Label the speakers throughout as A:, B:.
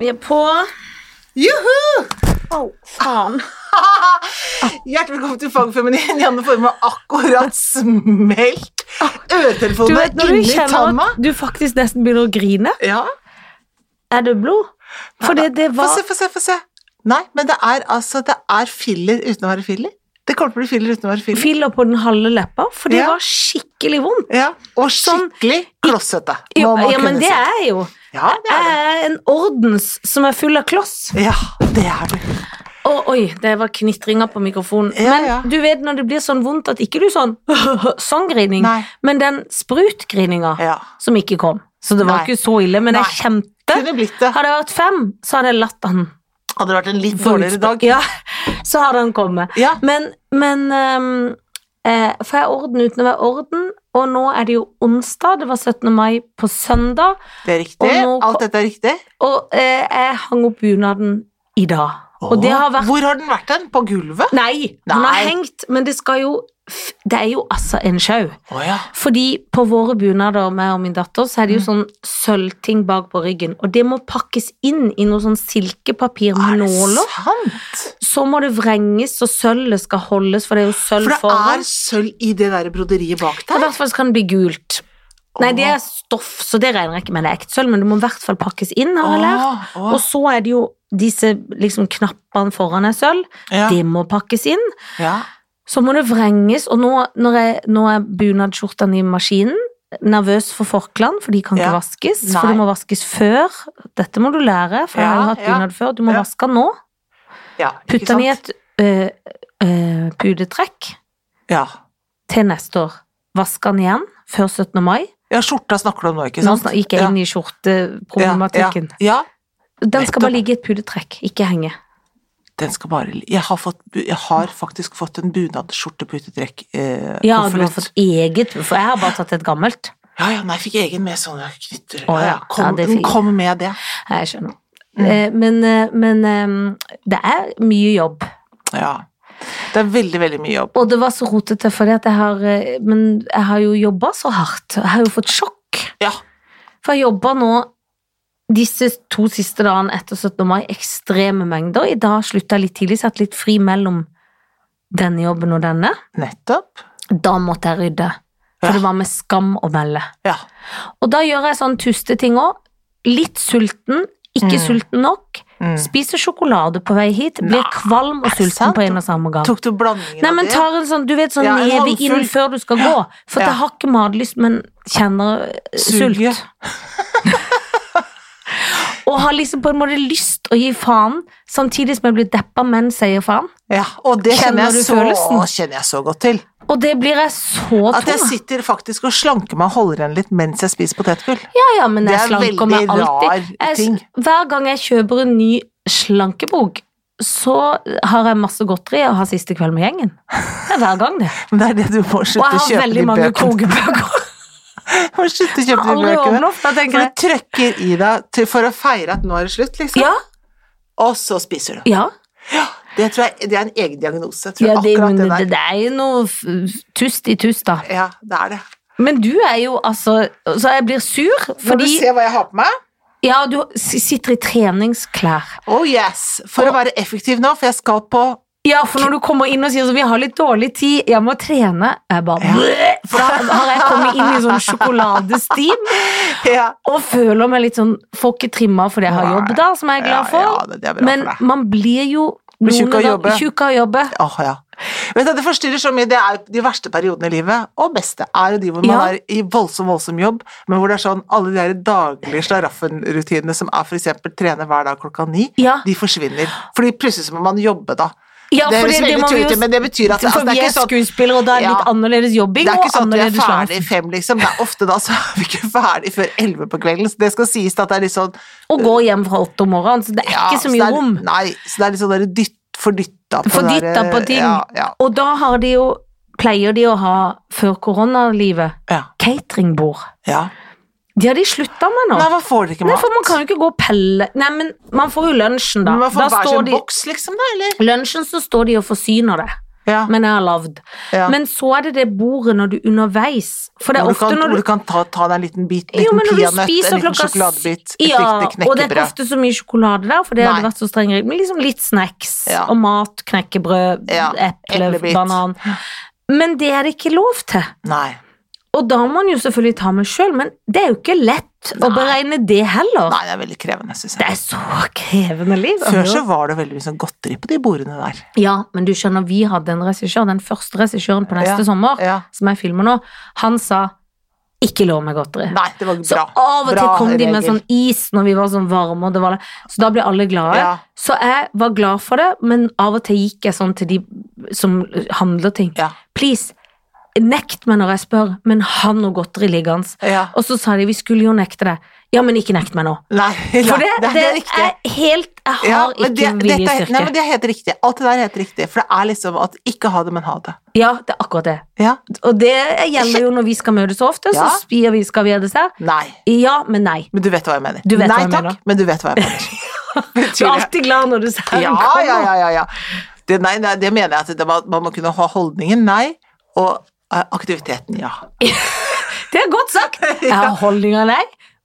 A: Vi er på.
B: Juhu!
A: Au, faen.
B: Hjertelig velkommen til Fagfeminin. Janne Forme har akkurat smelt
A: Du
B: øretelefonene
A: vet når du
B: inni
A: kjenner
B: tanna.
A: at du faktisk nesten begynner å grine?
B: Ja.
A: Er det blod? For det, det
B: Få
A: var
B: se, få se, få se. Nei, men det er altså det er filler uten å være filler. Det kommer til å bli filler uten å være filler.
A: filler på den halve leppa, for det
B: Ja.
A: var skikkelig vondt.
B: Ja, Og
A: Sånn-
B: skikkelig klossete.
A: Jo,
B: må man
A: ja, men
B: kunne
A: det
B: si.
A: er jo
B: Ja, det
A: Jeg
B: er det.
A: er en ordens som er full av kloss.
B: Ja, det er det.
A: Å, oi, det var knitringer på mikrofonen.
B: Ja,
A: men
B: ja.
A: du vet når det blir sånn vondt at ikke du sånn sånn grining,
B: Nei.
A: men den sprutgrininga
B: Ja.
A: som ikke kom. Så det var
B: Nei.
A: ikke så ille, men
B: Nei.
A: jeg kjente
B: Kunne blitt det.
A: Hadde jeg vært fem, så hadde jeg latt han
B: Hadde det vært en litt dårligere dag.
A: Ja, så hadde han kommet.
B: Ja.
A: Men, men ehm, eh, For jeg er orden uten å være orden, og nå er det jo onsdag, det var 17. mai på søndag,
B: Det er riktig.
A: Og nå-
B: Alt dette er riktig.
A: og eh, jeg hang opp bunaden i dag. Og det
B: Åh,
A: har vært
B: Hvor har den vært den? På gulvet?
A: Nei, den har
B: Nei.
A: hengt, men det skal jo f- Det er jo altså en sjau.
B: Å ja.
A: Fordi på våre bunader, meg og min datter, så er det jo
B: Mm.
A: sånn sølvting bak på ryggen. Og det må pakkes inn i noe sånn silkepapir
B: Er
A: med
B: det
A: nåler.
B: sant?
A: Så må det vrenges, og sølvet skal holdes, for det er jo sølv
B: For det
A: foran.
B: er sølv i det der broderiet bak
A: I
B: der.
A: hvert fall så kan det bli gult. Nei, det er stoff, så det regner jeg ikke med det er ekte sølv, men det må i hvert fall pakkes inn, har jeg lært.
B: Åh,
A: Og
B: åh,
A: så er det jo disse liksom knappene foran er sølv.
B: ja,
A: Det må pakkes inn.
B: ja.
A: Så må det vrenges, og nå, når jeg, nå er bunadsskjortene i maskinen. Nervøs for forklærne, for de kan ikke
B: Ja.
A: vaskes.
B: Nei.
A: For de må vaskes før. Dette må du lære, for jeg har
B: Ja,
A: jo hatt
B: ja.
A: bunad før. Du må
B: Ja.
A: vaske den nå.
B: ja ikke
A: Putt den i et
B: sant?
A: øh, øh, pudetrekk
B: Ja.
A: til neste år. Vask den igjen før 17. mai.
B: ja, skjorta snakker du om nå, ikke
A: Nå
B: sant?
A: snak- gikk jeg inn i skjorteproblematikken.
B: Ja, ja, ja.
A: Den skal bare
B: Nettopp.
A: ligge i et pudetrekk, ikke henge.
B: Den skal bare li- Jeg har, fått, bu- jeg har faktisk fått en bunadskjorte på utetrekk. Eh,
A: Ja, du har
B: konvolutt.
A: fått eget, for jeg har bare tatt et gammelt.
B: ja, ja, nei, jeg fikk egen med sånne knytter.
A: Å, ja.
B: Kom,
A: Ja, det
B: den
A: fikk-
B: kom med det.
A: Jeg skjønner.
B: Mm.
A: Eh, Men, eh, men eh, det er mye jobb.
B: Ja. Det er veldig, veldig mye jobb.
A: Og det var så rotete, fordi at jeg har eh, Men jeg har jo jobba så hardt. Jeg har jo fått sjokk.
B: Ja.
A: For jeg jobba nå disse to siste dagene etter 17. mai ekstreme mengder. I dag slutta jeg litt tidlig, så jeg har hatt litt fri mellom denne jobben og denne.
B: Nettopp.
A: Da måtte jeg rydde. For
B: Ja.
A: det var med skam å melde.
B: Ja.
A: Og da gjør jeg sånn tusteting òg. Litt sulten, ikke
B: Mm.
A: sulten nok.
B: Mm.
A: Spiser sjokolade på vei hit, blir
B: Nei,
A: kvalm og
B: er det
A: sulten
B: sant?
A: på en og samme gang.
B: Tok du blandingen
A: Nei, men
B: av det?
A: tar en sånn, du vet, sånn
B: Ja, en
A: neve
B: håndfull.
A: inn før du skal gå. For at
B: Ja.
A: jeg har ikke matlyst, men kjenner eh,
B: Suget.
A: sult. og har liksom på en måte lyst å gi faen, samtidig som jeg blir deppa, men sier faen.
B: Ja, og det
A: Kjenner
B: kjenner,
A: du
B: jeg så,
A: følelsen?
B: kjenner jeg så godt til.
A: Og det blir jeg så
B: At jeg
A: tom av.
B: sitter faktisk og slanker meg og holder igjen litt mens jeg spiser potetgull.
A: Ja, ja, men
B: Det
A: jeg
B: er
A: slanker
B: veldig
A: meg alltid.
B: rar
A: Jeg,
B: ting.
A: hver gang jeg kjøper en ny slankebok, så har jeg masse godteri og har siste kveld med gjengen. Det er hver gang, det.
B: Men det er det du må
A: Og
B: slutte å
A: jeg har
B: kjøpe
A: veldig
B: de
A: mange
B: bøkene.
A: kogebøker.
B: Du må slutte å kjøpe de
A: Aldri
B: bøkene.
A: åpnet opp, da tenker
B: For
A: jeg.
B: du trøkker i deg til, for å feire at nå er det slutt, liksom.
A: Ja,
B: Og så spiser du.
A: ja.
B: Det tror jeg det er en egen diagnose. Tror
A: Ja, det,
B: jeg,
A: men
B: akkurat det,
A: det,
B: der.
A: det er jo noe f- tust i tust, da.
B: Ja, det er det.
A: Men du er jo altså Så jeg blir sur,
B: Må du
A: fordi
B: se hva jeg har på meg?
A: Ja, du s- sitter i treningsklær.
B: Oh yes! For å være effektiv nå, for jeg skal på
A: Ja, for når du kommer inn og sier så, vi har litt dårlig tid, jeg må trene, jeg bare
B: Ja.
A: «Bleh!» For da har jeg kommet inn i sånn sjokoladestim
B: ja.
A: og føler meg litt sånn Får ikke trimma fordi jeg har jobb, da, som jeg er glad
B: Ja,
A: for.
B: ja, det, det er bra
A: Men
B: for deg.
A: man blir jo
B: Blir tjukk av
A: noen ganger-
B: jobbe.
A: tjukk av jobbe.
B: Åh, ja. Vet du, det forstyrrer så mye. Det er jo de verste periodene i livet, og beste er jo de hvor man
A: Ja.
B: er i voldsom, voldsom jobb, men hvor det er sånn alle de der daglige slaraffenrutinene som er for eksempel trene hver dag klokka ni,
A: Ja.
B: de forsvinner. Fordi plutselig så må man jobbe da.
A: Ja,
B: det
A: for
B: høres
A: det- det
B: veldig
A: må vi
B: tydelig
A: jo-
B: ut, men det betyr at altså,
A: For
B: det
A: vi
B: er
A: er
B: ikke sånn
A: skuespillere, og det er litt
B: Ja.
A: annerledes jobbing.
B: det er ikke
A: og
B: sånn at vi er
A: annerledes slag.
B: ferdig fem, liksom. Det er ofte da så er vi ikke ferdig før elleve på kvelden. Så det skal sies at det er litt sånn
A: og går hjem fra åtte om morgenen, så det er
B: ja,
A: ikke så mye
B: det er-
A: rom.
B: Nei, så det er litt sånn der dytt, fordytta på det
A: Fordytta
B: der,
A: på ting.
B: Ja, ja,
A: Og da har de jo, pleier de å ha, før koronalivet,
B: ja,
A: cateringbord.
B: ja.
A: De har de slutta med nå.
B: Nei, hva får dere ikke
A: Nei,
B: mat?
A: for man kan jo ikke gå og pelle Nei, men man får jo lunsjen, da.
B: Men man får
A: da
B: hver sin
A: står de,
B: boks, liksom, da, eller?
A: lunsjen så står de og forsyner det.
B: Ja.
A: men jeg har lagd.
B: ja.
A: Men så er det det bordet når du underveis For det er
B: hvor du
A: ofte
B: kan,
A: når du
B: hvor du kan ta, ta deg en liten bit, en
A: Jo,
B: liten
A: men når du
B: peanøtt,
A: spiser
B: en liten
A: klokka s-
B: sjokoladebit, et
A: Ja,
B: lite
A: og det er ikke
B: knekkebrød.
A: ofte så mye sjokolade der, for det
B: Nei.
A: hadde vært så streng regel. Men liksom litt snacks
B: Ja.
A: og mat, knekkebrød,
B: Ja,
A: eple,
B: eplebit.
A: banan. Men det er det ikke lov til.
B: Nei.
A: Og da må man jo selvfølgelig ta med sjøl, men det er jo ikke lett å
B: Nei.
A: beregne det heller.
B: Nei, det er veldig krevende, syns
A: Det
B: jeg.
A: er så krevende liv.
B: Før så var det veldig mye sånn godteri på de bordene der.
A: Ja, men du skjønner, vi hadde en regissør, den første regissøren på neste
B: Ja.
A: sommer,
B: Ja.
A: som jeg filmer nå, han sa 'ikke lov med godteri'.
B: Nei, det var
A: Så
B: bra.
A: av og til
B: Bra
A: kom de med
B: regel.
A: sånn is når vi var sånn varme, og det var så da ble alle glade.
B: Ja.
A: Så jeg var glad for det, men av og til gikk jeg sånn til de som handler ting.
B: Ja.
A: Please, nekt meg når jeg spør, men ha noe godteri liggende.
B: ja.
A: Og så sa de vi skulle jo nekte det. Ja, men ikke nekt meg nå.
B: Nei,
A: For
B: nei,
A: det,
B: det, er riktig.
A: er helt Jeg har
B: Ja, men det,
A: ikke
B: dette, er- nei, men
A: viljestyrke.
B: det er helt riktig. Alt det der er helt riktig. For det er liksom at ikke ha det, men ha det.
A: Ja, det er akkurat det.
B: Ja.
A: Og det gjelder jo når vi skal møtes så ofte,
B: Ja.
A: så spiser vi skal vi ha dessert.
B: Nei.
A: Ja, men nei.
B: Men du vet hva jeg mener.
A: Du vet
B: nei
A: hva jeg
B: takk,
A: mener.
B: men du vet hva jeg mener.
A: Du er
B: Betyr det?
A: alltid glad når du ser den
B: Ja,
A: komme.
B: ja, ja, ja, ja. Det, nei, nei, det mener jeg at det, man, man må kunne ha holdningen nei, og eh, aktiviteten ja.
A: Det er godt sagt. Jeg har holdninga, nei,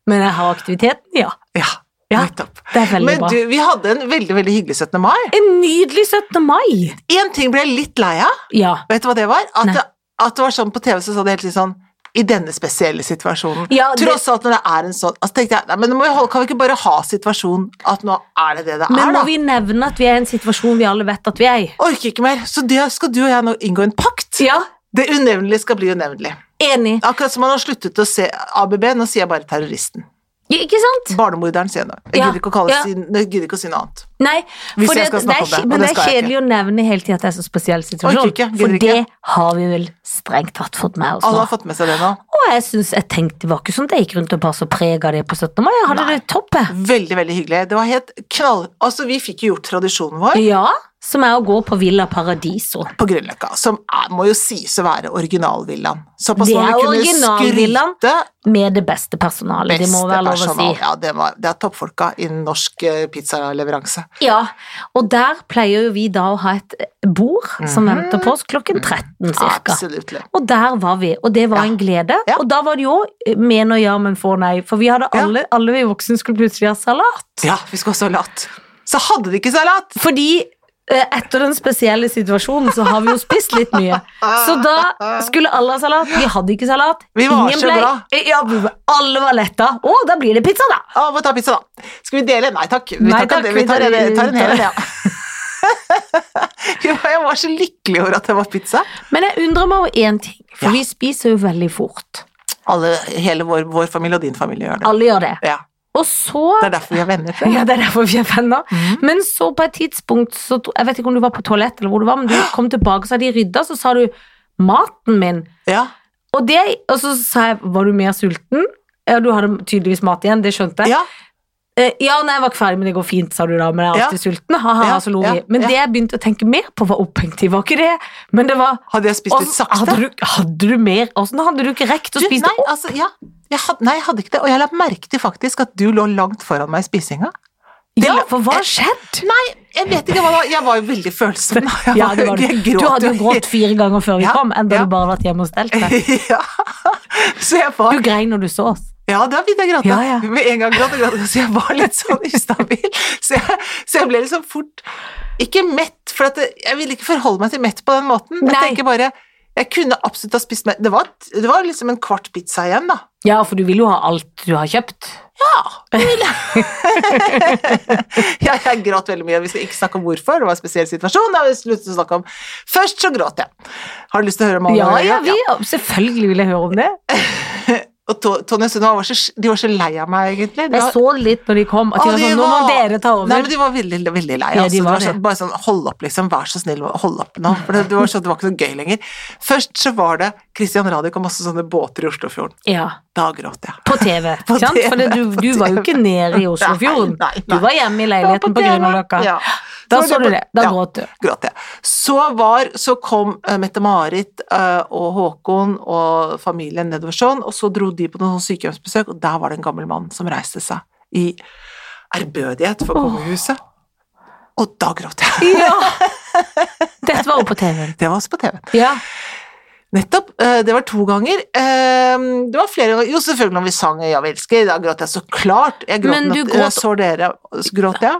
A: men jeg har aktiviteten, ja.
B: Ja,
A: Ja,
B: nettopp.
A: Det er veldig
B: Men
A: bra.
B: du, vi hadde en veldig, veldig hyggelig 17. mai.
A: En nydelig 17. mai.
B: Én ting ble jeg litt lei av.
A: Ja.
B: Vet du hva det var? At
A: Nei.
B: det, at det var sånn på TV så sa det hele tiden sånn i denne spesielle situasjonen.
A: Ja, det-
B: Tross alt når det er en sånn altså tenkte jeg, nei, men nå må vi holde, Kan vi ikke bare ha situasjonen at nå er det det det
A: Men
B: er,
A: må
B: da?
A: vi nevne at vi er i en situasjon vi alle vet at vi er i?
B: Orker ikke mer. Så det skal du og jeg nå inngå en pakt.
A: Ja,
B: Det unevnelige skal bli unevnelig.
A: enig.
B: Akkurat som man har sluttet å se ABB, nå sier jeg bare terroristen.
A: Ja, Ikke sant?
B: Barnemorderen sier jeg nå. Jeg
A: Ja,
B: gidder ikke å, kalle
A: ja.
B: sin, jeg gidder ikke å si noe annet.
A: Nei,
B: Hvis
A: for
B: jeg skal snakke
A: det er,
B: om det,
A: kje-
B: og
A: men
B: det
A: det er
B: skal jeg
A: kjedelig å nevne hele tida at det er så spesiell situasjon.
B: Orker ikke, gidder
A: for
B: ikke.
A: det har vi vel strengt tatt fått med oss
B: Alle
A: nå.
B: har fått med seg det nå.
A: Og jeg synes, jeg tenkte det var ikke sånn at jeg gikk rundt og bare så preg av det på 17. mai. Jeg hadde
B: Nei.
A: det toppet.
B: Veldig, veldig hyggelig. Det var helt knall... Altså, vi fikk jo gjort tradisjonen vår
A: Ja, som er å gå på Villa Paradiso.
B: på Grünerløkka, som er, må jo sies å være originalvillaen. Såpass
A: Det
B: må
A: er
B: vi kunne
A: originalvillaen.
B: skryte
A: Med det beste personalet, det må
B: beste
A: være lov å si.
B: personal. Ja, det, var, det er toppfolka innen norsk eh, pizzaleveranse.
A: Ja, og der pleier jo vi da å ha et bord som
B: Mhm.
A: venter på oss klokken 13 cirka.
B: Absolutt.
A: Og der var vi, og det var
B: Ja.
A: en glede.
B: Ja.
A: Og da var det jo eh, men og ja, men få nei. For vi hadde
B: Ja.
A: alle, alle vi voksne skulle plutselig ha salat.
B: Ja, vi skulle ha salat. Så hadde de ikke salat!
A: Fordi eh, etter den spesielle situasjonen så har vi jo spist litt mye. Så da skulle alle ha salat. Vi hadde ikke salat. Eh,
B: Vi var så glad.
A: Ja, vi var- alle var letta. Å, da blir det pizza, da!
B: Å, må ta pizza, da. Skal vi dele? Nei takk. Vi
A: Nei,
B: tar, ikke
A: takk,
B: det. vi
A: vi
B: tar,
A: tar-
B: en- tar en hel en, ja. Jo, Jeg var så lykkelig over at det var pizza.
A: Men jeg undrer meg over én ting, for
B: Ja.
A: vi spiser jo veldig fort.
B: Alle, hele vår, vår familie og din familie gjør det.
A: Alle gjør det.
B: Ja,
A: Og så
B: Det er derfor vi er venner. tror jeg.
A: Ja, det er derfor vi er venner.
B: Mhm.
A: Men så på et tidspunkt, så, tro- jeg vet ikke om du var på toalett eller hvor du var, men du kom tilbake, så hadde de rydda, så sa du 'maten min'.
B: Ja,
A: Og, det, og så sa jeg 'var du mer sulten'? Ja, du hadde tydeligvis mat igjen, det skjønte jeg.
B: ja,
A: Eh, ja, nei, jeg var ikke ferdig, men det går fint, sa du da, men jeg er
B: Ja.
A: alltid sulten. Ha-ha,
B: Ja,
A: så lo vi.
B: ja,
A: Men
B: ja.
A: det jeg begynte å tenke mer på, var opphengtid, var ikke det? Men det var
B: Hadde jeg spist litt
A: Åssen-
B: sakte?
A: Hadde, du, hadde du mer Åssen hadde du ikke rekt å
B: Du,
A: spise
B: nei,
A: det opp?
B: altså, ja. jeg had, nei, jeg hadde ikke det. Og jeg la merke til faktisk at du lå langt foran meg i spisinga. det
A: Ja,
B: la- Eh,
A: for hva har skjedd?
B: Nei, jeg vet ikke hva det var. Jeg var jo veldig følsom. Jeg
A: Ja, det
B: var-
A: var du.
B: jeg gråt
A: Du hadde jo grått
B: helt-
A: fire ganger før vi
B: Ja,
A: kom, enn da
B: ja.
A: du bare hadde vært hjemme og stelt deg.
B: ja. Så jeg var
A: Du grein når du så oss.
B: Ja, da begynte jeg å gråte.
A: Ja, ja.
B: Med en gang gråt jeg gråt. Så jeg var litt sånn ustabil. Så jeg, så jeg ble liksom fort Ikke mett, for at det, jeg ville ikke forholde meg til mett på den måten. Jeg
A: Nei.
B: tenker bare Jeg kunne absolutt ha spist mer. Det var, det var liksom en kvart pizza igjen, da.
A: Ja, for du vil jo ha alt du har kjøpt.
B: Jeg, jeg gråt veldig mye. Vi skal ikke snakke om hvorfor, det var en spesiell situasjon. Da har vi sluttet å snakke om Først så gråt jeg. Har du lyst til å høre om alle
A: Ja, ja,
B: det?
A: vi, selvfølgelig vil jeg høre om det.
B: Og To- Tonje og Sunniva var, så- de var så lei av meg, egentlig. De
A: Jeg
B: var-
A: så det litt når de kom, at de
B: Ja,
A: var
B: de
A: sånn, nå må
B: var-
A: dere ta
B: Nei, men
A: over.
B: de var veldig, veldig lei.
A: Ja,
B: altså.
A: de var
B: det var
A: det.
B: sånn, bare sånn, hold opp, liksom. Vær så snill, hold opp nå. For det, det var sånn, det var ikke noe gøy lenger. Først så var det Christian Radich og masse sånne båter i Oslofjorden.
A: Ja,
B: Da gråt jeg.
A: på TV,
B: På
A: ikke sant? For det- du,
B: TV,
A: du
B: på
A: var jo
B: TV.
A: ikke nede i Oslofjorden.
B: Nei, nei, nei.
A: Du var hjemme i
B: Jeg var
A: leiligheten på
B: TV.
A: Grünerløkka.
B: Ja.
A: Da
B: var
A: så du
B: på-
A: det. Da
B: ja,
A: gråt du.
B: gråt jeg. Så var, så kom eh, Mette-Marit eh, og Håkon og familien nedover sånn, og så dro de på noen sånn sykehjemsbesøk, og der var det en gammel mann som reiste seg i ærbødighet for kongehuset. Og da gråt jeg.
A: Ja! Dette var jo på TV-en.
B: Det var også på TV.
A: Ja.
B: Nettopp. eh, Det var to ganger. Eh, Det var flere ganger. Jo, selvfølgelig når vi sang 'Ja, vi elsker', da gråt jeg så klart. Jeg gråt
A: Men
B: når
A: du
B: jeg
A: gråt-
B: så dere. Så gråt jeg.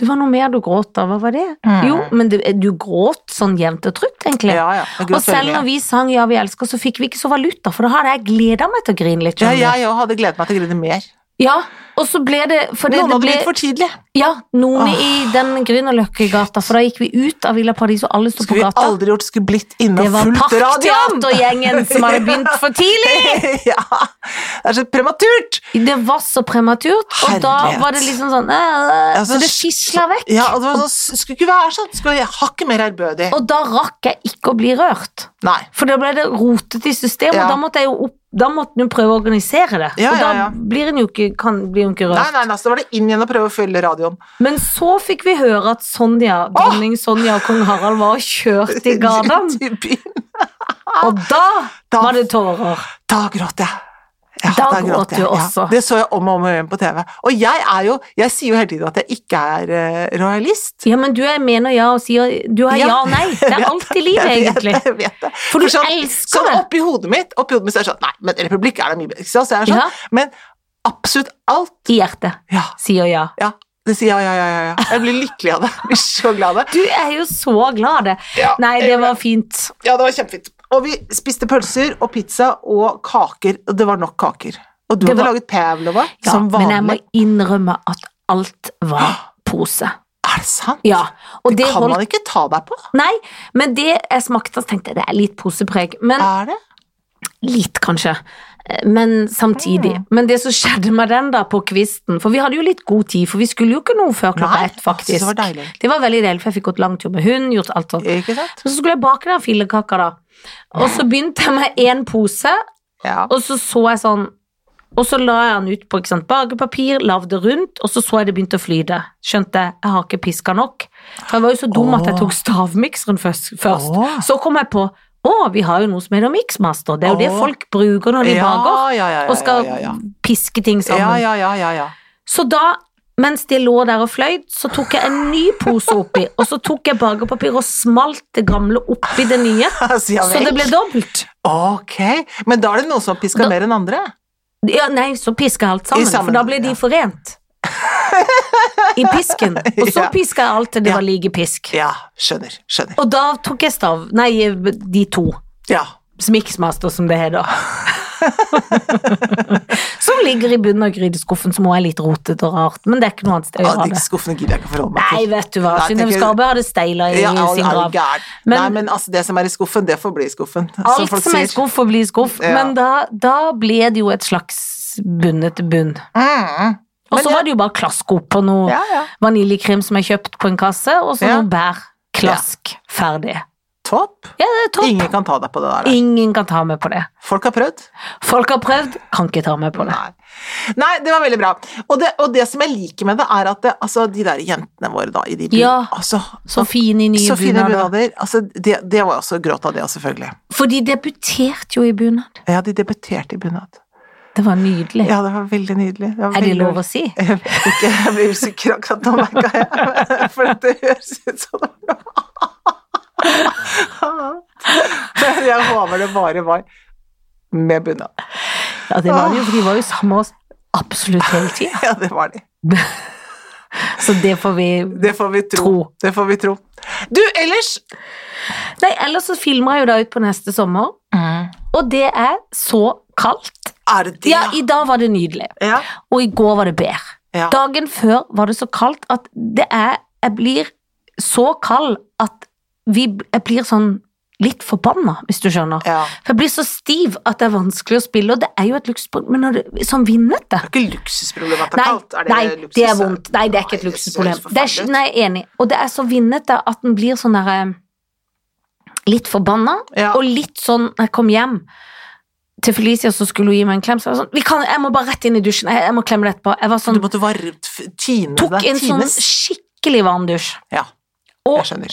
A: Det var noe mer du gråt av, hva var det?
B: Mm.
A: Jo, men du, du gråt sånn jevnt og trutt, egentlig.
B: Ja, ja. Jeg
A: og
B: gråt
A: selv
B: veldig.
A: når vi sang Ja, vi elsker, så fikk vi ikke så valuta, for da hadde jeg gleda meg til å grine litt.
B: ja,
A: skjønner du.
B: jeg òg hadde gledet meg til å grine mer.
A: ja, og så ble det for det,
B: Noen
A: det
B: hadde
A: ble,
B: blitt for tidlig.
A: Ja, noen
B: Åh.
A: i den Grünerløkka-gata, for da gikk vi ut av Villa Paradis, og alle sto på
B: Skulle vi
A: gata.
B: aldri gjort, skulle blitt inne
A: Det
B: og
A: var
B: fulgt radioen!
A: Parkteatergjengen som hadde begynt for tidlig!
B: ja, det er så prematurt!
A: Det var så prematurt, og da
B: Herlighet.
A: var det liksom sånn øh,
B: Ja, så-
A: Så det skisla vekk.
B: Ja, og det var sånn, s- skulle ikke være sånn. Skulle jeg hakket mer ærbødig.
A: Og da rakk jeg ikke å bli rørt.
B: Nei.
A: For da ble det rotet i systemet,
B: Ja.
A: og da måtte jeg jo opp da måtte en jo prøve å organisere det,
B: Ja,
A: og da
B: ja, ja.
A: blir en jo ikke, kan, blir en ikke rørt.
B: Nei, nei, nei, så da var det inn igjen å prøve å følge radioen.
A: Men så fikk vi høre at Sonja, dronning Sonja og kong Harald var og kjørte i gatene,
B: Ut i byen.
A: og da,
B: Da-
A: var det tårer.
B: Da gråt jeg. Ja,
A: Da gråt du
B: jeg.
A: også.
B: det så jeg om og om igjen på TV. Og jeg er jo, jeg sier jo hele tiden at jeg ikke er eh, rojalist.
A: Ja, men du er mener ja og sier du er
B: Ja.
A: ja og nei. Det er alt i livet,
B: Jeg vet
A: egentlig.
B: det, jeg vet det.
A: For du
B: sånn,
A: elsker
B: sånn
A: det.
B: oppi hodet mitt, oppi hodet mitt så er det sånn, nei, men republikk er det mye bedre. Ikke sant? Så jeg er sånn,
A: Ja.
B: men absolutt alt,
A: I hjertet
B: ja,
A: sier ja.
B: ja. Det sier ja, ja, ja, ja, ja. Jeg blir lykkelig av det. Jeg blir så glad av
A: Du
B: det.
A: er jo så glad, det.
B: Ja,
A: Nei,
B: jeg
A: det
B: gjør
A: var fint.
B: Ja, det var kjempefint. Og vi spiste pølser og pizza og kaker, og det var nok kaker. Og du
A: Det
B: hadde
A: var-
B: laget pavlova,
A: Ja,
B: som vanlig.
A: men jeg må innrømme at alt var pose.
B: Er det sant?
A: Ja, og det,
B: kan
A: holdt
B: man ikke ta deg på?
A: Nei, men det jeg smakte, så tenkte jeg det er litt posepreg. Men
B: Er det?
A: litt, kanskje. Eh, Men samtidig. Men det som skjedde med den da på kvisten For vi hadde jo litt god tid, for vi skulle jo ikke noe før klokka
B: Nei,
A: ett, faktisk.
B: så det var deilig.
A: Det var veldig deilig, for jeg fikk gått langtur med hund, gjort alt sånt.
B: Ikke sant?
A: Så skulle jeg bake den fillekaka, da. Og så begynte jeg med én pose,
B: Ja.
A: og så så jeg sånn Og så la jeg den ut på ikke sant, bakepapir, lagde rundt, og så så jeg det begynte å flyte. Skjønte jeg, jeg har ikke piska nok. For jeg var jo så dum at jeg
B: Åh.
A: tok stavmikseren først. først.
B: Åh.
A: Så kom jeg på å, vi har jo noe som heter miksmaster. Det er jo det
B: Åh.
A: folk bruker når de
B: ja,
A: baker.
B: ja, ja, ja,
A: Og skal
B: ja, ja,
A: piske ting
B: ja.
A: sammen.
B: ja, ja, ja, ja, ja.
A: Så da, mens de lå der og fløy, så tok jeg en ny pose oppi. og så tok jeg bakepapir og smalt det gamle oppi det nye.
B: Altså, ja
A: Så det
B: vel.
A: ble dobbelt.
B: Ok, men da er det noen som pisker
A: Da-
B: mer enn andre.
A: Ja, nei, så pisker jeg alt sammen,
B: I sammen,
A: for da ble de
B: ja.
A: forent. I pisken. Og så
B: Ja.
A: piska jeg alt til det
B: Ja.
A: var like pisk.
B: Ja, skjønner, skjønner.
A: Og da tok jeg stav Nei, de to.
B: Ja,
A: Smiksmaster, som det heter. som ligger i bunnen av grydeskuffen, som også er litt rotete og rart. Men det er ikke noe annet sted å
B: ja
A: gjøre
B: de
A: det.
B: skuffene gidder jeg ikke å forholde meg
A: Nei,
B: til.
A: vet du hva.
B: Nei,
A: Synnøve
B: tenker-
A: Skarbø hadde steila i
B: Ja, er-
A: sin
B: er du
A: grav.
B: gæren?
A: Men-
B: Nei, men altså, det som er i skuffen, det får bli i skuffen.
A: Alt som er i skuff, får bli i skuff.
B: Ja.
A: Men da, da ble det jo et slags bunnet bunn.
B: Mm.
A: Og
B: Men
A: så
B: jeg-
A: var det jo bare klasko på noe.
B: Ja, ja.
A: vaniljekrem som er kjøpt på en kasse, og så
B: Ja.
A: noen bær. Klask. Ferdig.
B: Topp.
A: Ja, det er topp.
B: Ingen kan ta deg på det der.
A: Ingen kan ta meg på det.
B: Folk har prøvd.
A: Folk har prøvd, kan ikke ta meg på det.
B: Nei. Nei, det var veldig bra. Og det, og det som jeg liker med det, er at det, altså, de der jentene våre da, i de byen,
A: Ja.
B: altså,
A: Så fine i nye
B: så fine
A: bunader.
B: bunader. Altså, det, det var jo også gråt av det, også, selvfølgelig.
A: For de debuterte jo i bunad.
B: Ja, de debuterte i bunad.
A: Det var nydelig.
B: Ja, det var veldig nydelig. Det var
A: er det
B: veldig-
A: lov å si?
B: Jeg vet ikke, jeg blir usikker akkurat nå, merka jeg. For at det høres ut som det var Men jeg håper det bare var med bunad.
A: Ja, det var det jo, for de var jo sammen med oss absolutt hele tida.
B: Ja, det var de.
A: Så det får vi
B: Det får vi tro.
A: Tro.
B: Det får vi tro. Du, ellers
A: Nei, ellers så filmer jeg jo da ut på neste sommer, og det er så kaldt.
B: Er det det?
A: Ja, i dag var det nydelig,
B: ja.
A: og i går var det bedre.
B: ja.
A: Dagen før var det så kaldt at det er Jeg blir så kald at vi, jeg blir sånn litt forbanna, hvis du skjønner.
B: ja.
A: For jeg blir så stiv at det er vanskelig å spille, og det er jo et luksusproblem, men når det, sånn vinnete
B: Det er ikke luksusproblem at det er
A: Nei,
B: kaldt. Er det
A: nei
B: luksus?
A: det er vondt. Nei, det er ikke et
B: Nei, det ser helt
A: luksusproblem. Det er,
B: forferdelig ut.
A: nei, jeg er enig. Og det er så vinnete at den blir sånn derre Litt forbanna,
B: Ja.
A: og litt sånn når jeg kom hjem til Felicia, så skulle hun gi meg en klem, så jeg var sånn vi kan, Jeg må bare rett inn i dusjen. Jeg, jeg må klemme det etterpå. Jeg var sånn,
B: Du måtte varmt f- tine
A: tok
B: deg.
A: en sånn
B: Tines.
A: skikkelig varm dusj.
B: Ja,
A: Og
B: jeg skjønner.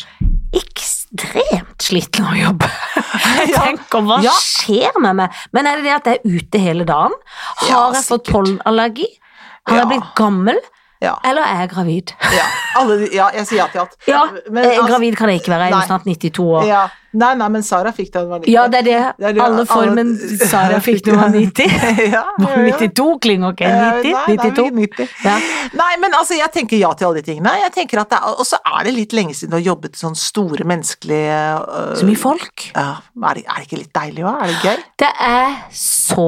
A: ekstremt sliten av jobb. Jeg
B: Ja.
A: tenker, hva
B: Ja.
A: skjer med meg? Men er det det at jeg er ute hele dagen? Har
B: Ja,
A: jeg fått
B: sikkert.
A: pollenallergi? Har
B: Ja.
A: jeg blitt gammel?
B: Ja.
A: Eller er jeg gravid?
B: ja. Alle, de- ja, jeg sier ja til alt.
A: Ja,
B: Men
A: eh,
B: altså-
A: gravid kan jeg ikke være, jeg er
B: Nei.
A: jo snart 92 år. Ja,
B: Ja. Nei, nei, men Sara fikk det da hun var liten.
A: det er det.
B: Det er det-
A: Alle formen
B: alle-
A: Sara fikk da hun var 90.
B: ja,
A: Var hun
B: ja, ja.
A: 92 klinger ikke?
B: Eh,
A: 90?
B: nei, nei,
A: 92?
B: men 90.
A: Ja.
B: Nei, men altså, jeg tenker ja til alle de tingene. Jeg tenker at det er, Og så er det litt lenge siden du har jobbet i sånne store menneskelige øh,
A: Så mye folk.
B: ja, er, det, er det ikke litt deilig òg? Er det gøy?
A: Det er så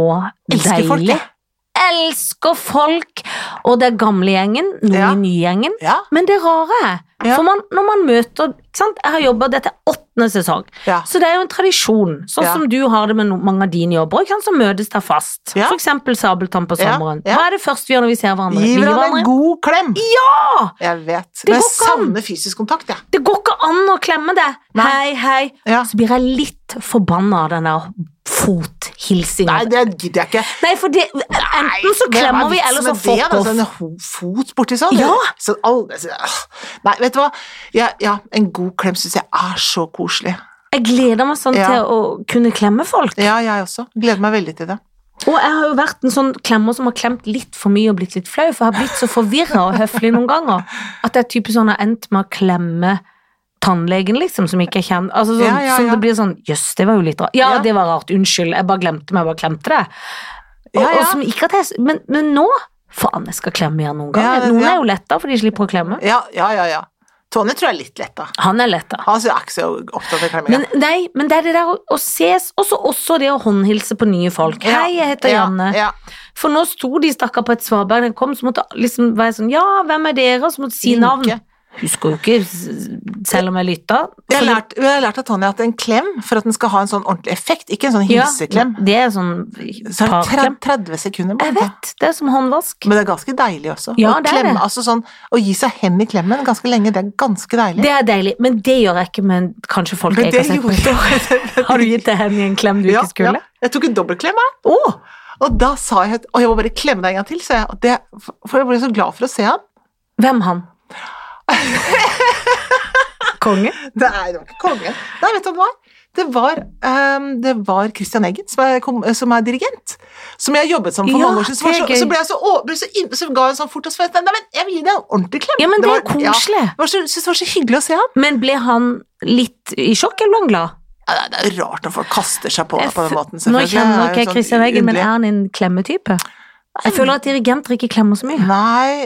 B: Elsker
A: deilig.
B: folk, jeg.
A: Elsker folk! Og det er gamlegjengen, noen
B: Ja.
A: i nygjengen.
B: Ja.
A: Men det rare er,
B: Ja.
A: for man, når man møter ikke sant? Jeg har jobba dette er åttende sesong,
B: ja.
A: så det er jo en tradisjon. Sånn
B: Ja.
A: som du har det med no mange av dine jobber, ikke sant? så møtes der fast.
B: Ja.
A: For eksempel Sabeltann på
B: Ja,
A: sommeren.
B: ja.
A: Hva er det første vi gjør når vi ser hverandre? Vi
B: Gi
A: gir
B: hverandre en god klem!
A: Ja!
B: Jeg vet.
A: går
B: Men jeg
A: ikke an.
B: savner fysisk kontakt, jeg.
A: Det går ikke an å klemme det.
B: Nei.
A: Hei, hei.
B: Ja.
A: Så blir jeg litt forbanna av den der
B: Nei,
A: fothilsinga.
B: det gidder jeg ikke.
A: Nei, for det, enten så
B: Men hva
A: klemmer
B: er
A: vi,
B: vitsen
A: eller så
B: med det,
A: fuck
B: da?
A: off.
B: Sånn ho- fot borti sånn?
A: Ja.
B: Så alle, så, ah. Nei, vet du hva? Ja, ja, en god klem syns jeg er så koselig.
A: Jeg gleder meg sånn
B: Ja.
A: til å kunne klemme folk.
B: Ja, jeg også. Gleder meg veldig til det.
A: Og jeg har jo vært en sånn klemmer som har klemt litt for mye og blitt litt flau, for jeg har blitt så forvirra og høflig noen ganger at jeg typisk sånn har endt med å klemme tannlegen, liksom, som ikke jeg kjenner altså, sånn,
B: Ja, ja,
A: Som
B: ja.
A: det blir sånn Jøss, det var jo litt rart. Ja,
B: Ja.
A: det var rart. Unnskyld. Jeg bare glemte meg, jeg bare klemte det. Og,
B: Ja, ja.
A: og som ikke at jeg, men, men nå Faen, jeg skal klemme igjen noen ganger.
B: Ja, det-
A: Noen
B: ja.
A: er jo letta, for de slipper å klemme.
B: Ja, ja, ja. ja. Tonje tror jeg er litt letta.
A: Han er letta.
B: Han er ikke så opptatt av klemminga.
A: Men, nei, men det er det der å, å ses, og så også det å håndhilse på nye folk.
B: Ja,
A: Hei, jeg heter Janne.
B: Ja,
A: For nå sto de stakkar på et svaberg, den kom, så måtte liksom være sånn Ja, hvem er dere? Og så måtte si
B: Linke.
A: navn. Husker jo ikke, s- selv om jeg lytta.
B: Vi har, lært, vi har lært av Tonje at en klem, for at den skal ha en sånn ordentlig effekt, ikke en sånn hilseklem,
A: Ja, det er sånn
B: så er
A: parklem.
B: det 30 30 sekunder. bare.
A: Jeg vet, det er som håndvask.
B: Men det er ganske deilig også.
A: Ja,
B: å,
A: det er
B: klemme,
A: det.
B: Altså sånn, å gi seg hen i klemmen ganske lenge, det er ganske deilig.
A: Det er deilig, men det gjør jeg ikke med kanskje folk
B: Men
A: jeg ikke har sett på.
B: gjorde
A: Har du gitt deg hen i en klem du
B: Ja,
A: ikke skulle?
B: ja. Jeg tok en dobbeltklem, jeg. Å! Og da sa jeg at Å, jeg må bare klemme deg en gang til, sa jeg. Og det, for jeg ble så glad for å se ham.
A: Hvem han? Konge?
B: Nei, det var ikke kongen. Nei, vet du hva det var? Det var, ehm, det var Christian Eggen, som er, kom, som er dirigent. Som jeg jobbet sammen for
A: Ja,
B: mange år siden. Så, var
A: det er
B: så,
A: gøy.
B: så ble jeg så, å- ble så, inn, så ga jeg en sånn fort og svett Nei, men jeg vil gi deg en ordentlig klem.
A: Ja, men det er
B: var- ja.
A: koselig.
B: Det var så- synes det var så hyggelig å se ham.
A: Men ble han litt i sjokk, eller ble han glad?
B: Ja, det er- det er jo rart når folk kaster seg på deg på den måten.
A: Nå
B: selvfølgelig.
A: kjenner nok
B: Det er
A: jeg
B: jo sånn
A: Christian Eggen, men
B: underlig.
A: er han en klemmetype? Jeg føler at dirigenter ikke klemmer så mye.
B: Nei,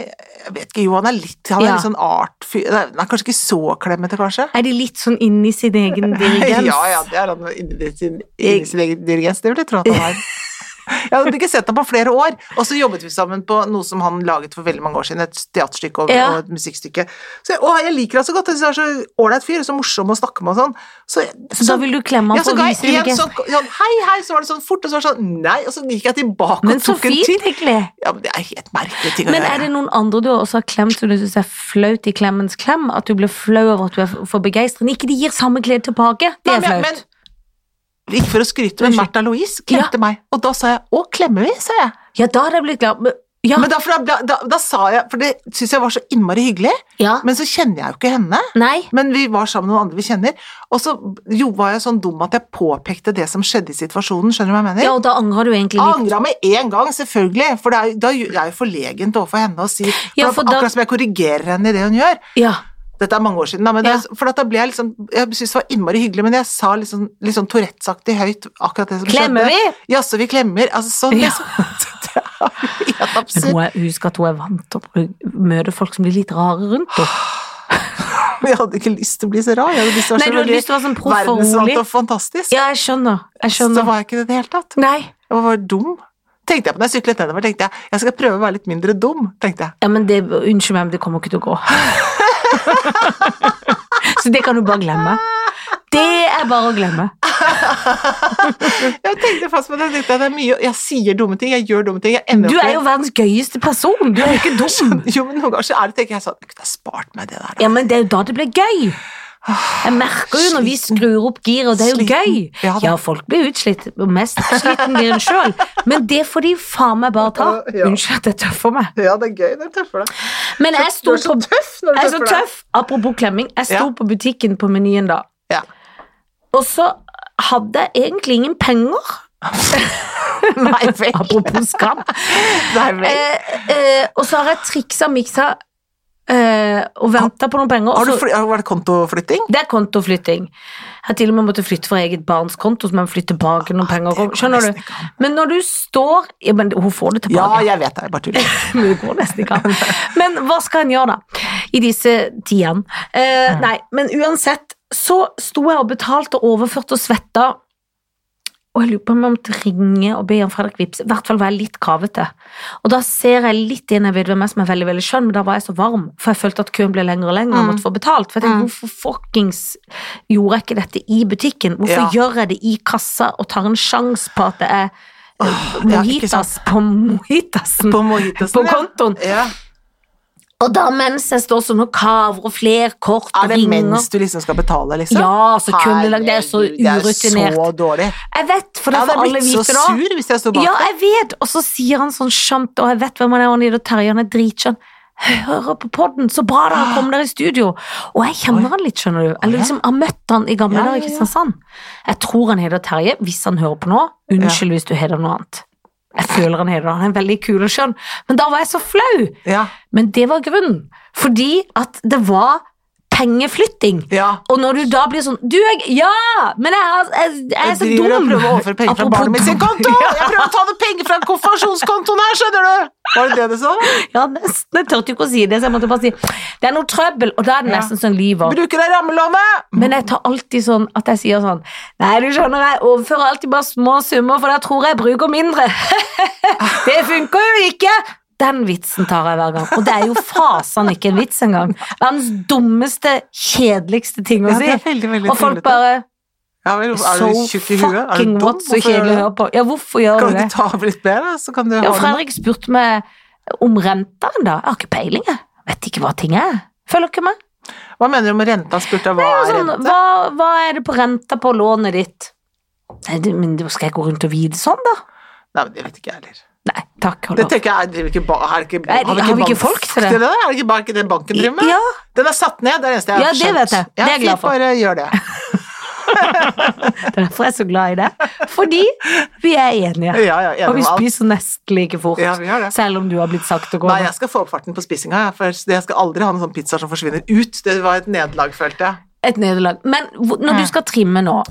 B: jeg vet ikke. Jo, han er litt Han er
A: Ja.
B: litt sånn art... Fy, nei, han er kanskje ikke så klemmete, kanskje?
A: Er de litt sånn inni sin egen dirigens?
B: Ja, ja, det er han inni sin, inni sin egen dirigens. Det vil jeg tro at han er. Jeg hadde ikke sett ham på flere år. Og så jobbet vi sammen på noe som han laget for veldig mange år siden, et teaterstykke og,
A: Ja.
B: og et musikkstykke. Så jeg, å, jeg liker han så godt, jeg synes han er så ålreit fyr, så morsom å snakke med og sånn. Så,
A: Så da vil du klemme
B: ja,
A: han
B: så
A: for å
B: ga
A: vise
B: jeg en
A: deg
B: sånn, sånn hei, hei, så var det sånn fort, og så var det sånn nei, og så gikk jeg tilbake
A: Men
B: og
A: så
B: tok en
A: fint,
B: til.
A: egentlig.
B: Ja, men det er helt merkelige ting å
A: Men er det
B: gjøre.
A: noen andre du også har klemt som du syns er flaut i klemmens klem? At du blir flau over at du er for- for begeistret? Ikke de gir samme glede tilbake. Det
B: Nei,
A: er flaut.
B: men- men- Ikke for å skryte, men
A: Unnskyld.
B: Märtha Louise klemte meg, og da sa jeg 'Å, klemmer vi?' sa jeg.
A: Ja, da hadde jeg blitt glad. Men- Ja.
B: Men da, for da, da, da sa jeg, for det syns jeg var så innmari hyggelig,
A: ja.
B: men så kjenner jeg jo ikke henne.
A: Nei.
B: Men vi var sammen med noen andre vi kjenner, og så jo, var jeg sånn dum at jeg påpekte det som skjedde i situasjonen, skjønner du hva jeg mener?
A: Ja, og da angrer du egentlig
B: jeg
A: litt.
B: angra med en gang, selvfølgelig, for det er, jo- da er jo- det er jo forlegent overfor henne å si
A: Ja,
B: for
A: for da-
B: Akkurat som jeg korrigerer henne i det hun gjør.
A: Ja.
B: Dette er mange år siden, da, men
A: Ja.
B: det, for at da ble jeg liksom Jeg syntes det var innmari hyggelig, men jeg sa litt sånn, litt sånn Tourettes-aktig høyt akkurat det som
A: Klemmer
B: skjedde.
A: vi?
B: Jaså, vi klemmer? Altså sånn,
A: Ja.
B: liksom. Det er jo helt
A: Men
B: absurd.
A: hun er, husk at hun er vant til å bru- møte folk som blir litt rare rundt
B: Ah.
A: henne.
B: Men jeg hadde ikke lyst til å bli så rar. Jeg hadde lyst til å
A: Nei,
B: være
A: du hadde lyst
B: så
A: til å være sånn
B: veldig
A: proff og
B: verdensvant
A: rolig.
B: og fantastisk.
A: Ja, jeg skjønner. Jeg
B: Så
A: skjønner.
B: var jeg ikke det i det hele tatt.
A: Nei.
B: Jeg var bare dum. Tenkte jeg på når jeg syklet nedover, tenkte jeg jeg skal prøve å være litt mindre dum. tenkte jeg.
A: Ja, men det, unnskyld meg, men det kommer ikke til å gå. Så det kan du bare glemme. Det er bare å glemme.
B: Jeg tenkte fast på det, jeg tenkte at det er mye, jeg sier dumme ting, jeg gjør dumme ting. jeg ender
A: Du
B: opp
A: er
B: med-
A: jo verdens gøyeste person, du er jo ikke dum.
B: Jo, men noen ganger så er det, tenker jeg sånn, kunne jeg spart meg det der. da?
A: Ja, men det er jo da det blir gøy. Jeg merker jo når vi skrur opp giret, og det er jo
B: Sliten.
A: gøy.
B: Ja da.
A: Ja, folk blir utslitt, og mest sliten blir en sjøl. Men det får de faen meg bare ta.
B: Ja.
A: Unnskyld at jeg tøffer meg.
B: Ja, det er gøy når du tøffer deg.
A: Men jeg
B: Du
A: sto
B: er så
A: på
B: tøff når du
A: Jeg er så
B: tøffer deg.
A: tøff. Apropos klemming, jeg sto
B: Ja.
A: på butikken på menyen da.
B: Ja.
A: Og så hadde jeg egentlig ingen penger.
B: Nei vel.
A: Apropos skam.
B: Nei vel.
A: Eh, eh, og så har jeg triksa miksa eh, og venta på noen penger. og
B: Har du
A: så-
B: fly, har, var det kontoflytting?
A: det er kontoflytting. Jeg har til og med måttet flytte fra eget barns konto, så man flytter tilbake noen penger.
B: det går
A: Skjønner
B: nesten
A: du?
B: ikke an.
A: Men når du står ja, men Hun får det
B: Ja,
A: tilbake.
B: jeg vet det. Jeg bare tuller.
A: Men det går nesten ikke an. Men hva skal en gjøre, da? I disse tidene.
B: Mm.
A: Eh, nei, men uansett så sto jeg og betalte og overførte og svetta. Og jeg lurer på om jeg måtte ringe og be om Fredrik Vips. I hvert fall var jeg litt kavete. Og da ser jeg litt inn, jeg vet hvem jeg som er veldig veldig skjønn, men da var jeg så varm, for jeg følte at køen ble lengre og lengre og jeg
B: Mm.
A: måtte få betalt. For jeg tenkte, hvorfor fuckings gjorde jeg ikke dette i butikken? Hvorfor
B: Ja.
A: gjør jeg det i kassa og tar en sjanse på at det er eh,
B: ja, ikke sant.
A: mojitas på mojitasen?
B: På mojitasen,
A: På
B: ja.
A: kontoen.
B: Ja.
A: Og da mens jeg står sånn og kaver og fler kort og
B: Er det
A: ringer
B: mens du liksom skal betale, liksom?
A: Ja, så kundelag, det er så
B: Herregud, Det er så
A: urutinert.
B: dårlig.
A: Jeg vet, for det
B: Jeg
A: får
B: hadde
A: alle
B: blitt så
A: vite da.
B: sur hvis jeg sto bak
A: Ja,
B: deg.
A: jeg vet! Og så sier han sånn skjønt, og jeg vet hvem han er, og han er Terje, han er dritskjønn. Hører på podden, så bra dere kom dere i studio! Og jeg kjenner han litt, skjønner du. Eller
B: ja.
A: liksom, har møtt han i gamle
B: Ja,
A: dager i
B: ja, ja.
A: Kristiansand. Jeg tror han heter Terje, hvis han hører på nå. Unnskyld hvis du heter noe annet. Jeg føler han heter det, han er veldig kul og skjønn. Men da var jeg så flau!
B: Ja.
A: Men det var grunnen. Fordi at det var pengeflytting.
B: ja.
A: Og når du da blir sånn Du, jeg Ja! Men jeg, har- jeg, jeg er så
B: Jeg driver og
A: dum.
B: prøver å overføre penger fra
A: Apropos
B: barnet mitt sin
A: dum.
B: konto! Jeg prøver å ta det penger fra konfirmasjonskontoen her, skjønner du! Var det det du sa?
A: Ja, nesten. Jeg turte jo ikke å si det, så jeg måtte bare si det er noe trøbbel. Og da er det
B: Ja.
A: nesten sånn lyver.
B: Bruker deg rammelovet!
A: Men jeg tar alltid sånn at jeg sier sånn Nei, du skjønner, jeg overfører alltid bare små summer, for da tror jeg jeg bruker mindre. det funker jo ikke! Den vitsen tar jeg hver gang. Og det er jo fasan ikke en vits engang. Verdens dummeste, kjedeligste ting å
B: Ja,
A: si.
B: det er veldig, veldig
A: Og folk
B: tullete.
A: bare
B: Ja vel, er
A: So
B: du tjukk i huet? Er
A: fucking
B: du dum?
A: what, så kjedelig å høre på. Ja, hvorfor gjør
B: Kan
A: du
B: du
A: det?
B: ikke ta av litt mer, da, så kan du
A: Ja,
B: ha det?
A: Fredrik spurte meg om rentaen da. Jeg har ikke peiling, jeg. Vet ikke hva ting er. Følger ikke med.
B: Hva mener du med renta? Spurte jeg hva
A: Det var
B: er
A: Sånn,
B: renta?
A: hva, hva er det på renta på lånet ditt? Nei, det, men da skal jeg gå rundt og vite sånn, da?
B: Nei, men det vet ikke jeg heller.
A: Nei, takk.
B: Det
A: Hold opp.
B: tenker jeg, driver ikke ba- er det ikke,
A: Er det- har vi ikke
B: bank-
A: folk til det?
B: Er det ikke bare ikke det banken driver med?
A: Ja.
B: Den er satt ned, det er det eneste jeg
A: Ja,
B: har
A: det vet jeg. Det er jeg
B: fint,
A: glad for.
B: Bare gjør det.
A: Det er derfor jeg er så glad i det. Fordi vi er enige.
B: Ja, ja, enig
A: og vi
B: med alt.
A: spiser nesten like fort.
B: Ja, vi gjør det.
A: Selv om du har blitt sakte
B: Nei,
A: gående.
B: jeg skal få opp farten på spisinga, jeg, for jeg skal aldri ha en sånn pizza som forsvinner ut. Det var et nederlag, følte jeg.
A: Et nederlag. Men hvor- når
B: Mm.
A: du skal trimme nå,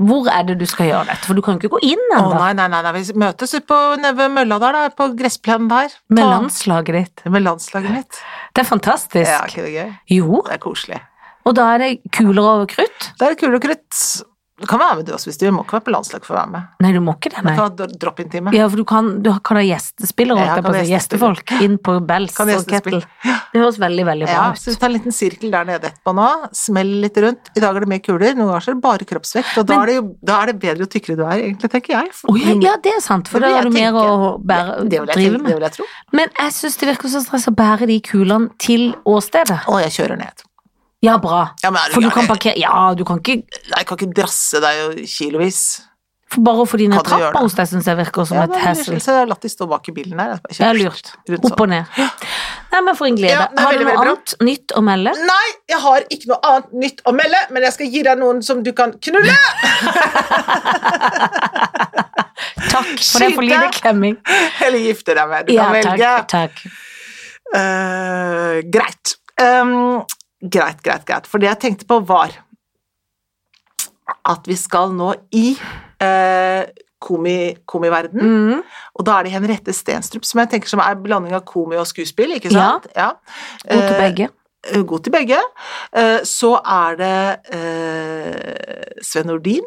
A: hvor er det du skal gjøre dette? For du kan jo ikke gå inn
B: Å
A: ennå.
B: nei, nei, nei, nei, vi møtes ute på nede ved mølla der, da, på gressplenen der.
A: Med
B: Ta-
A: landslaget ditt.
B: Med landslaget mitt.
A: Det er fantastisk.
B: Ja, ikke det gøy?
A: Jo,
B: Det er koselig.
A: og da er det kuler over krutt.
B: Det er kul og krutt. Du kan være med du også hvis du vil, du må ikke være på landslag for å være med.
A: Nei, du må ikke det,
B: Du
A: nei.
B: kan ha drop-in-time.
A: Ja, for du kan, du kan ha gjestespillere,
B: Ja,
A: holdt jeg
B: kan
A: på å si.
B: gjestespille.
A: Gjestefolk inn på Bells
B: Kan
A: og
B: gjestespill.
A: Kettle. Det høres veldig, veldig bra
B: Ja, så
A: ut.
B: vi tar en liten sirkel der nede etterpå nå. Smell litt rundt. I dag er det mer kuler, noen ganger så er det bare kroppsvekt. Og da,
A: Men-
B: er det jo, da er det bedre jo tykkere du er, egentlig, tenker jeg. For-
A: Å, ja, ja, det er sant, for da
B: Det vil
A: har
B: jeg
A: du mer å
B: tenke.
A: bære,
B: Det vil jeg
A: drive
B: tenke,
A: med.
B: Det vil jeg tro.
A: Men jeg syns det virker så stress å bære de kulene til åstedet.
B: Å, jeg kjører ned.
A: Ja, bra.
B: Ja, men er du
A: For du
B: gæren?
A: kan parkere Ja, du kan ikke
B: Nei, Jeg kan ikke drasse deg jo kilovis.
A: for Bare å få de ned
B: Kan du
A: trappa
B: gjøre det?
A: hos deg syns jeg virker som
B: Ja,
A: et
B: men
A: hassle.
B: Så jeg har latt de stå bak i bilen der. Jeg bare
A: Ja,
B: kjører
A: lurt.
B: rundt
A: Opp
B: sånn.
A: og ned. Nei, men for en glede.
B: Ja, det er
A: har du
B: veldig,
A: noe
B: veldig bra.
A: annet nytt å melde?
B: Nei, jeg har ikke noe annet nytt å melde, men jeg skal gi deg noen som du kan knulle!
A: Takk for det, for
B: Skyte.
A: lite klemming.
B: Eller gifte deg med. Du
A: Ja,
B: kan
A: takk.
B: velge.
A: takk.
B: Eh, greit. Um, greit, greit, greit. For det jeg tenkte på var at vi skal nå i eh, komi, komiverden,
A: Mm.
B: og da er det Henriette Stenstrup, som jeg tenker som er blanding av komi og skuespill, ikke sant? Ja.
A: God til
B: Eh,
A: begge.
B: eh, god til begge. Eh, så er det eh, Sven Nordin,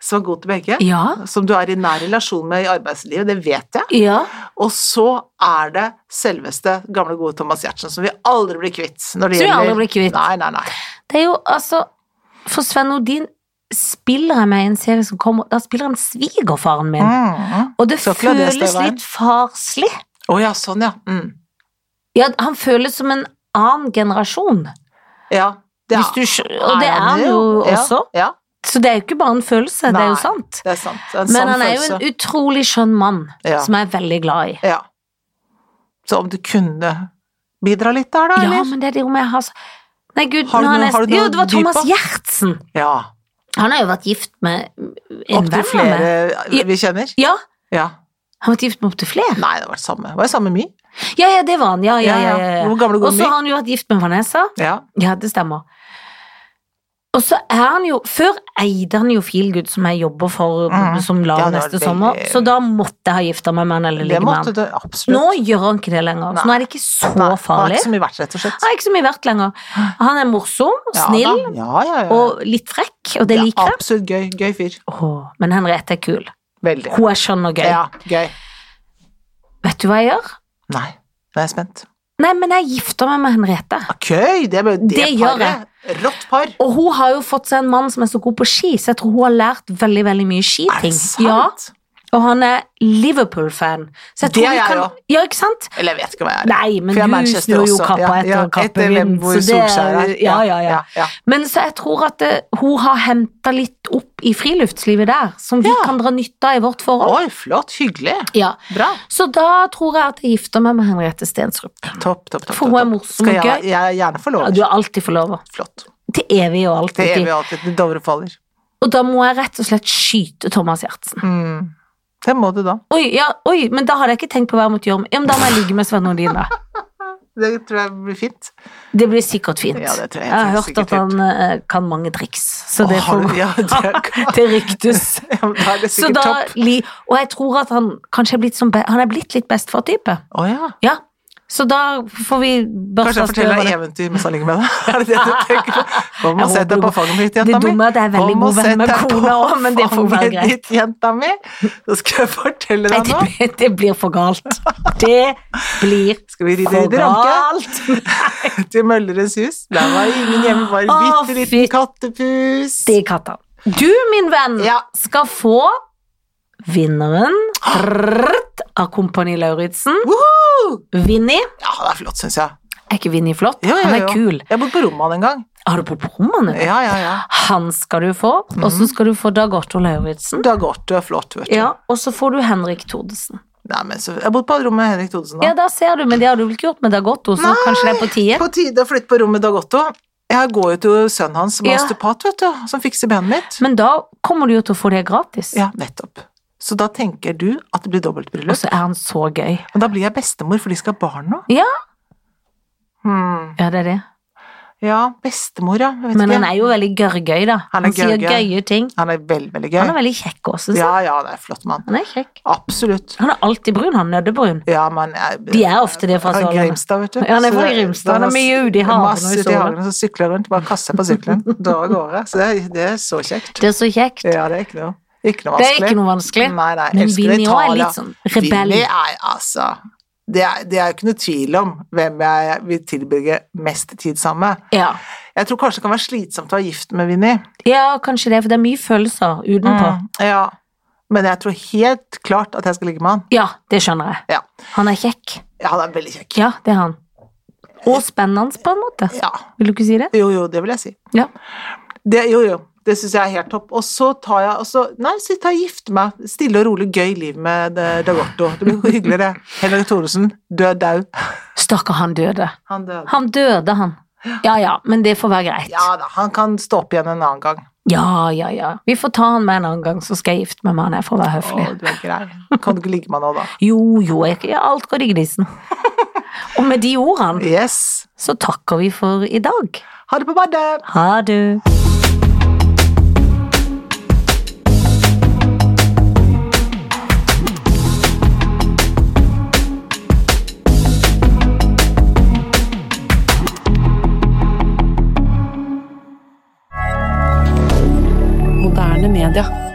B: som er god til begge.
A: Ja.
B: Som du er i nær relasjon med i arbeidslivet, det vet jeg.
A: Ja.
B: Og så er det selveste gamle gode Thomas Giertsen, som vi aldri blir kvitt. Når det
A: Som vi
B: gjelder...
A: aldri blir kvitt.
B: Nei, nei, nei.
A: Det er jo altså For Sven Odin spiller jeg med i en serie som kommer Da spiller han svigerfaren min.
B: Mm.
A: Og det
B: Så ikke la det
A: føles
B: stå i veien.
A: litt farslig.
B: Å ja, sånn ja. Mm.
A: Ja, han føles som en annen generasjon.
B: Ja. det er-
A: Hvis du, skj- og det er han
B: det
A: jo
B: Ja,
A: også.
B: Ja,
A: Så det er jo ikke bare en følelse, det er jo
B: Nei.
A: sant.
B: det er sant. Det er en
A: Men
B: sann
A: han er jo
B: følelse.
A: en utrolig skjønn mann,
B: Ja.
A: som jeg er veldig glad i.
B: Ja. Så om du kunne bidra litt der, da,
A: Ja,
B: eller?
A: men det er det jo med jeg har så- Nei, gud,
B: Har du
A: nå har jeg
B: noe- har du
A: nesten Jo,
B: noe
A: det var
B: dyp
A: Thomas
B: på?
A: Gjertsen.
B: Ja.
A: Han har jo vært gift med en venn
B: Opptil
A: av meg.
B: flere vi kjenner.
A: Ja,
B: Ja.
A: Han har vært gift med opptil flere.
B: Nei, det var det samme. Det var jo samme My.
A: Ja, ja, det var han. Ja, ja, ja. ja, ja.
B: Hvor gammel er
A: Og
B: god
A: så
B: My?
A: har han jo vært gift med Vanessa.
B: Ja.
A: Ja, det stemmer. Og så er han jo Før eide han jo Feelgood, som jeg jobber for
B: Mhm.
A: som LAR
B: Ja, det var
A: neste
B: veldig-
A: sommer, så da måtte jeg ha gifta meg med han eller
B: Det
A: ligge med
B: måtte
A: han.
B: du absolutt.
A: Nå gjør han ikke det lenger, så
B: Nei.
A: nå er det ikke så
B: Nei, det var
A: farlig.
B: ikke så mye verdt, rett og slett.
A: Han er ikke så mye verdt lenger. Han er morsom,
B: Ja,
A: snill
B: da. Ja, ja, ja.
A: og litt frekk, og det
B: Ja,
A: liker jeg.
B: Absolutt gøy. Gøy fyr.
A: Åh, men Henriette er kul.
B: Veldig.
A: Hun er skjønn og gøy.
B: Ja, gøy.
A: Vet du hva jeg gjør?
B: Nei, nå er jeg spent.
A: Nei, men jeg gifter meg med Henriette.
B: Ok, det, ble- det,
A: Det gjør
B: paret. Rått par.
A: Og hun har jo fått seg en mann som er så god på ski, så jeg tror hun har lært veldig veldig mye
B: Er det
A: skiting. Ja,
B: sant?
A: og han er Liverpool-fan. Så jeg
B: Det
A: tror
B: er
A: vi
B: jeg
A: kan
B: også.
A: Ja, ikke sant?
B: Eller jeg vet ikke hva jeg er.
A: Nei, men
B: For jeg er
A: du
B: Manchester
A: snur jo
B: også.
A: kappa
B: Ja,
A: etter
B: ja, hvem-
A: kappevinden.
B: hvor
A: så det-
B: Solskjær er.
A: Ja, ja, ja.
B: ja.
A: Men så jeg tror at eh, hun har henta litt opp i friluftslivet der, som vi
B: Ja.
A: kan dra nytte av i vårt forhold.
B: Oi, flott. Hyggelig.
A: Ja.
B: Bra.
A: Så da tror jeg at jeg gifter meg med Henriette Stensrup.
B: Topp, topp, topp.
A: For hun er
B: topp.
A: morsom
B: Skal
A: og gøy.
B: jeg, jeg er gjerne
A: Ja,
B: forlover.
A: Du er alltid forlover.
B: Flott.
A: Til evig og
B: Det er vi
A: alltid.
B: alltid. Det Dovre faller.
A: Og da må jeg rett og slett skyte Thomas Giertsen.
B: Mm. Det må du da.
A: Oi, ja, oi, men da hadde jeg ikke tenkt på hver mot Jorm. Ja, men da må jeg ligge med Sven Nordin, da.
B: Det tror jeg blir fint.
A: Det blir sikkert fint.
B: Ja, det tror
A: jeg
B: jeg
A: har
B: helt
A: hørt
B: sikkert
A: at han eh, kan mange triks, så det
B: Å, har
A: får
B: du- ja, det er,
A: Det ryktes.
B: ja, men da er det
A: Så
B: sikkert
A: da,
B: topp.
A: li, og jeg tror at han kanskje er blitt, som, be- han er blitt litt bestefar-type.
B: Å ja.
A: Ja. Så da får vi
B: Kanskje
A: børsta
B: jeg forteller deg
A: støvet.
B: eventyr mens han ligger med deg? Er det det du tenker på? Kom
A: Jeg
B: og
A: håper
B: sett deg på
A: du-
B: fanget mitt,
A: Det
B: jenta mi.
A: dumme er at jeg er veldig
B: Kom
A: god
B: og
A: venn med
B: sett deg
A: kona
B: på
A: òg, men det får være
B: fanget
A: greit.
B: ditt, jenta mi. Så skal jeg
A: Nei,
B: fortelle deg
A: det,
B: nå.
A: blir- det blir for galt. Det blir
B: Skal vi ride
A: for
B: i ranke
A: galt.
B: til Mølleres hus? Der var ingen hjemme, bare en
A: Å,
B: bitte
A: fy.
B: liten kattepus.
A: Det er katta. Du, min venn,
B: Ja.
A: skal få vinneren rrrt, av Kompani Lauritzen.
B: Woohoo!
A: Vinni.
B: Ja, det er flott, syns jeg.
A: Er ikke Vinni flott?
B: Jo, jo,
A: Han er
B: jo.
A: kul.
B: Jeg bodde på rommet han en gang.
A: Har du bodd på rommet? nå?
B: Ja, Mhm. ja, ja.
A: Han skal du få, og så skal du få Dag Otto Lauritzen.
B: Da går det flott, vet du.
A: Ja, og så får du Henrik Thodesen.
B: Nei, men så, jeg bodde på rommet med Henrik Thodesen
A: Ja,
B: da.
A: da ser du, men det har du vel ikke gjort med Dag Otto, så kanskje det er på tide?
B: På tide å flytte på rommet Dag Otto. Jeg går jo til sønnen hans som er
A: Ja.
B: osteopat, vet du, som fikser benet mitt.
A: Men da kommer du jo til å få det gratis.
B: Ja, nettopp. Så da tenker du at det blir
A: Og
B: dobbeltbryllup.
A: så er han så gøy.
B: Men da blir jeg bestemor, for de skal ha barn nå.
A: Ja.
B: Hmm.
A: Ja, det er det.
B: Ja, bestemor, ja. Jeg vet
A: Men
B: ikke.
A: han er jo veldig gørrgøy, da.
B: Han
A: Han,
B: er
A: sier
B: gørrgøy.
A: gøye ting.
B: Han er veldig, veldig gøy.
A: Han er veldig kjekk også, synes jeg.
B: Ja, ja, det er flott mann.
A: Han er kjekk.
B: Absolutt.
A: Han er alltid brun, han er nøddebrun.
B: Ja, men jeg,
A: De er ofte det fra
B: Han er
A: Sørlandet.
B: Grimstad, vet du.
A: Ja, han er
B: Så
A: fra
B: det-
A: Grimstad. Han er mye ute i hagen og i
B: Masse ute i
A: sola.
B: hagen, og så sykler han rundt, bare kaster på sykkelen. Drar av gårde. Så det, er- det er så kjekt.
A: Det er så kjekt.
B: Ja, det er ikke noe, ikke noe
A: Det er
B: vanskelig.
A: ikke noe vanskelig.
B: Nei, nei,
A: Men
B: elsker det.
A: Vinni også er
B: Italia.
A: litt sånn rebell.
B: Vinni er altså det er, det er jo ikke noe tvil om hvem jeg vil tilbringe mest tid sammen med.
A: Ja.
B: Jeg tror kanskje det kan være slitsomt å være gift med Vinni. Mm,
A: ja, kanskje det, for det er mye følelser utenpå.
B: Ja. Men jeg tror helt klart at jeg skal ligge med han.
A: Ja, det skjønner jeg.
B: Ja,
A: Han er kjekk.
B: ja han er veldig kjekk.
A: Ja, det er han. Og spennende, på en måte.
B: Ja.
A: Vil du ikke si det?
B: Jo, jo, det vil jeg si.
A: Ja.
B: Det, jo, jo. Det syns jeg er helt topp. Og så tar jeg og så, Nei, så tar jeg gifte meg. Stille og rolig, gøy liv med eh, Dagotto. Det blir hyggelig, det. Henrik Thoresen, død dau.
A: Stakkar, han døde.
B: Han døde.
A: Han døde, han. Ja ja, men det får være greit.
B: Ja da, han kan stå opp igjen en annen gang.
A: Ja ja ja. Vi får ta han med en annen gang, så skal jeg gifte meg med han. Jeg får være
B: Å,
A: høflig.
B: du er grei. Kan du ikke ligge med han nå, da?
A: Jo jo, jeg, ja, alt går i gnisen. Og med de ordene
B: Yes.
A: så takker vi for i dag.
B: Ha det på badet!
A: Ha det.
C: Moderne media.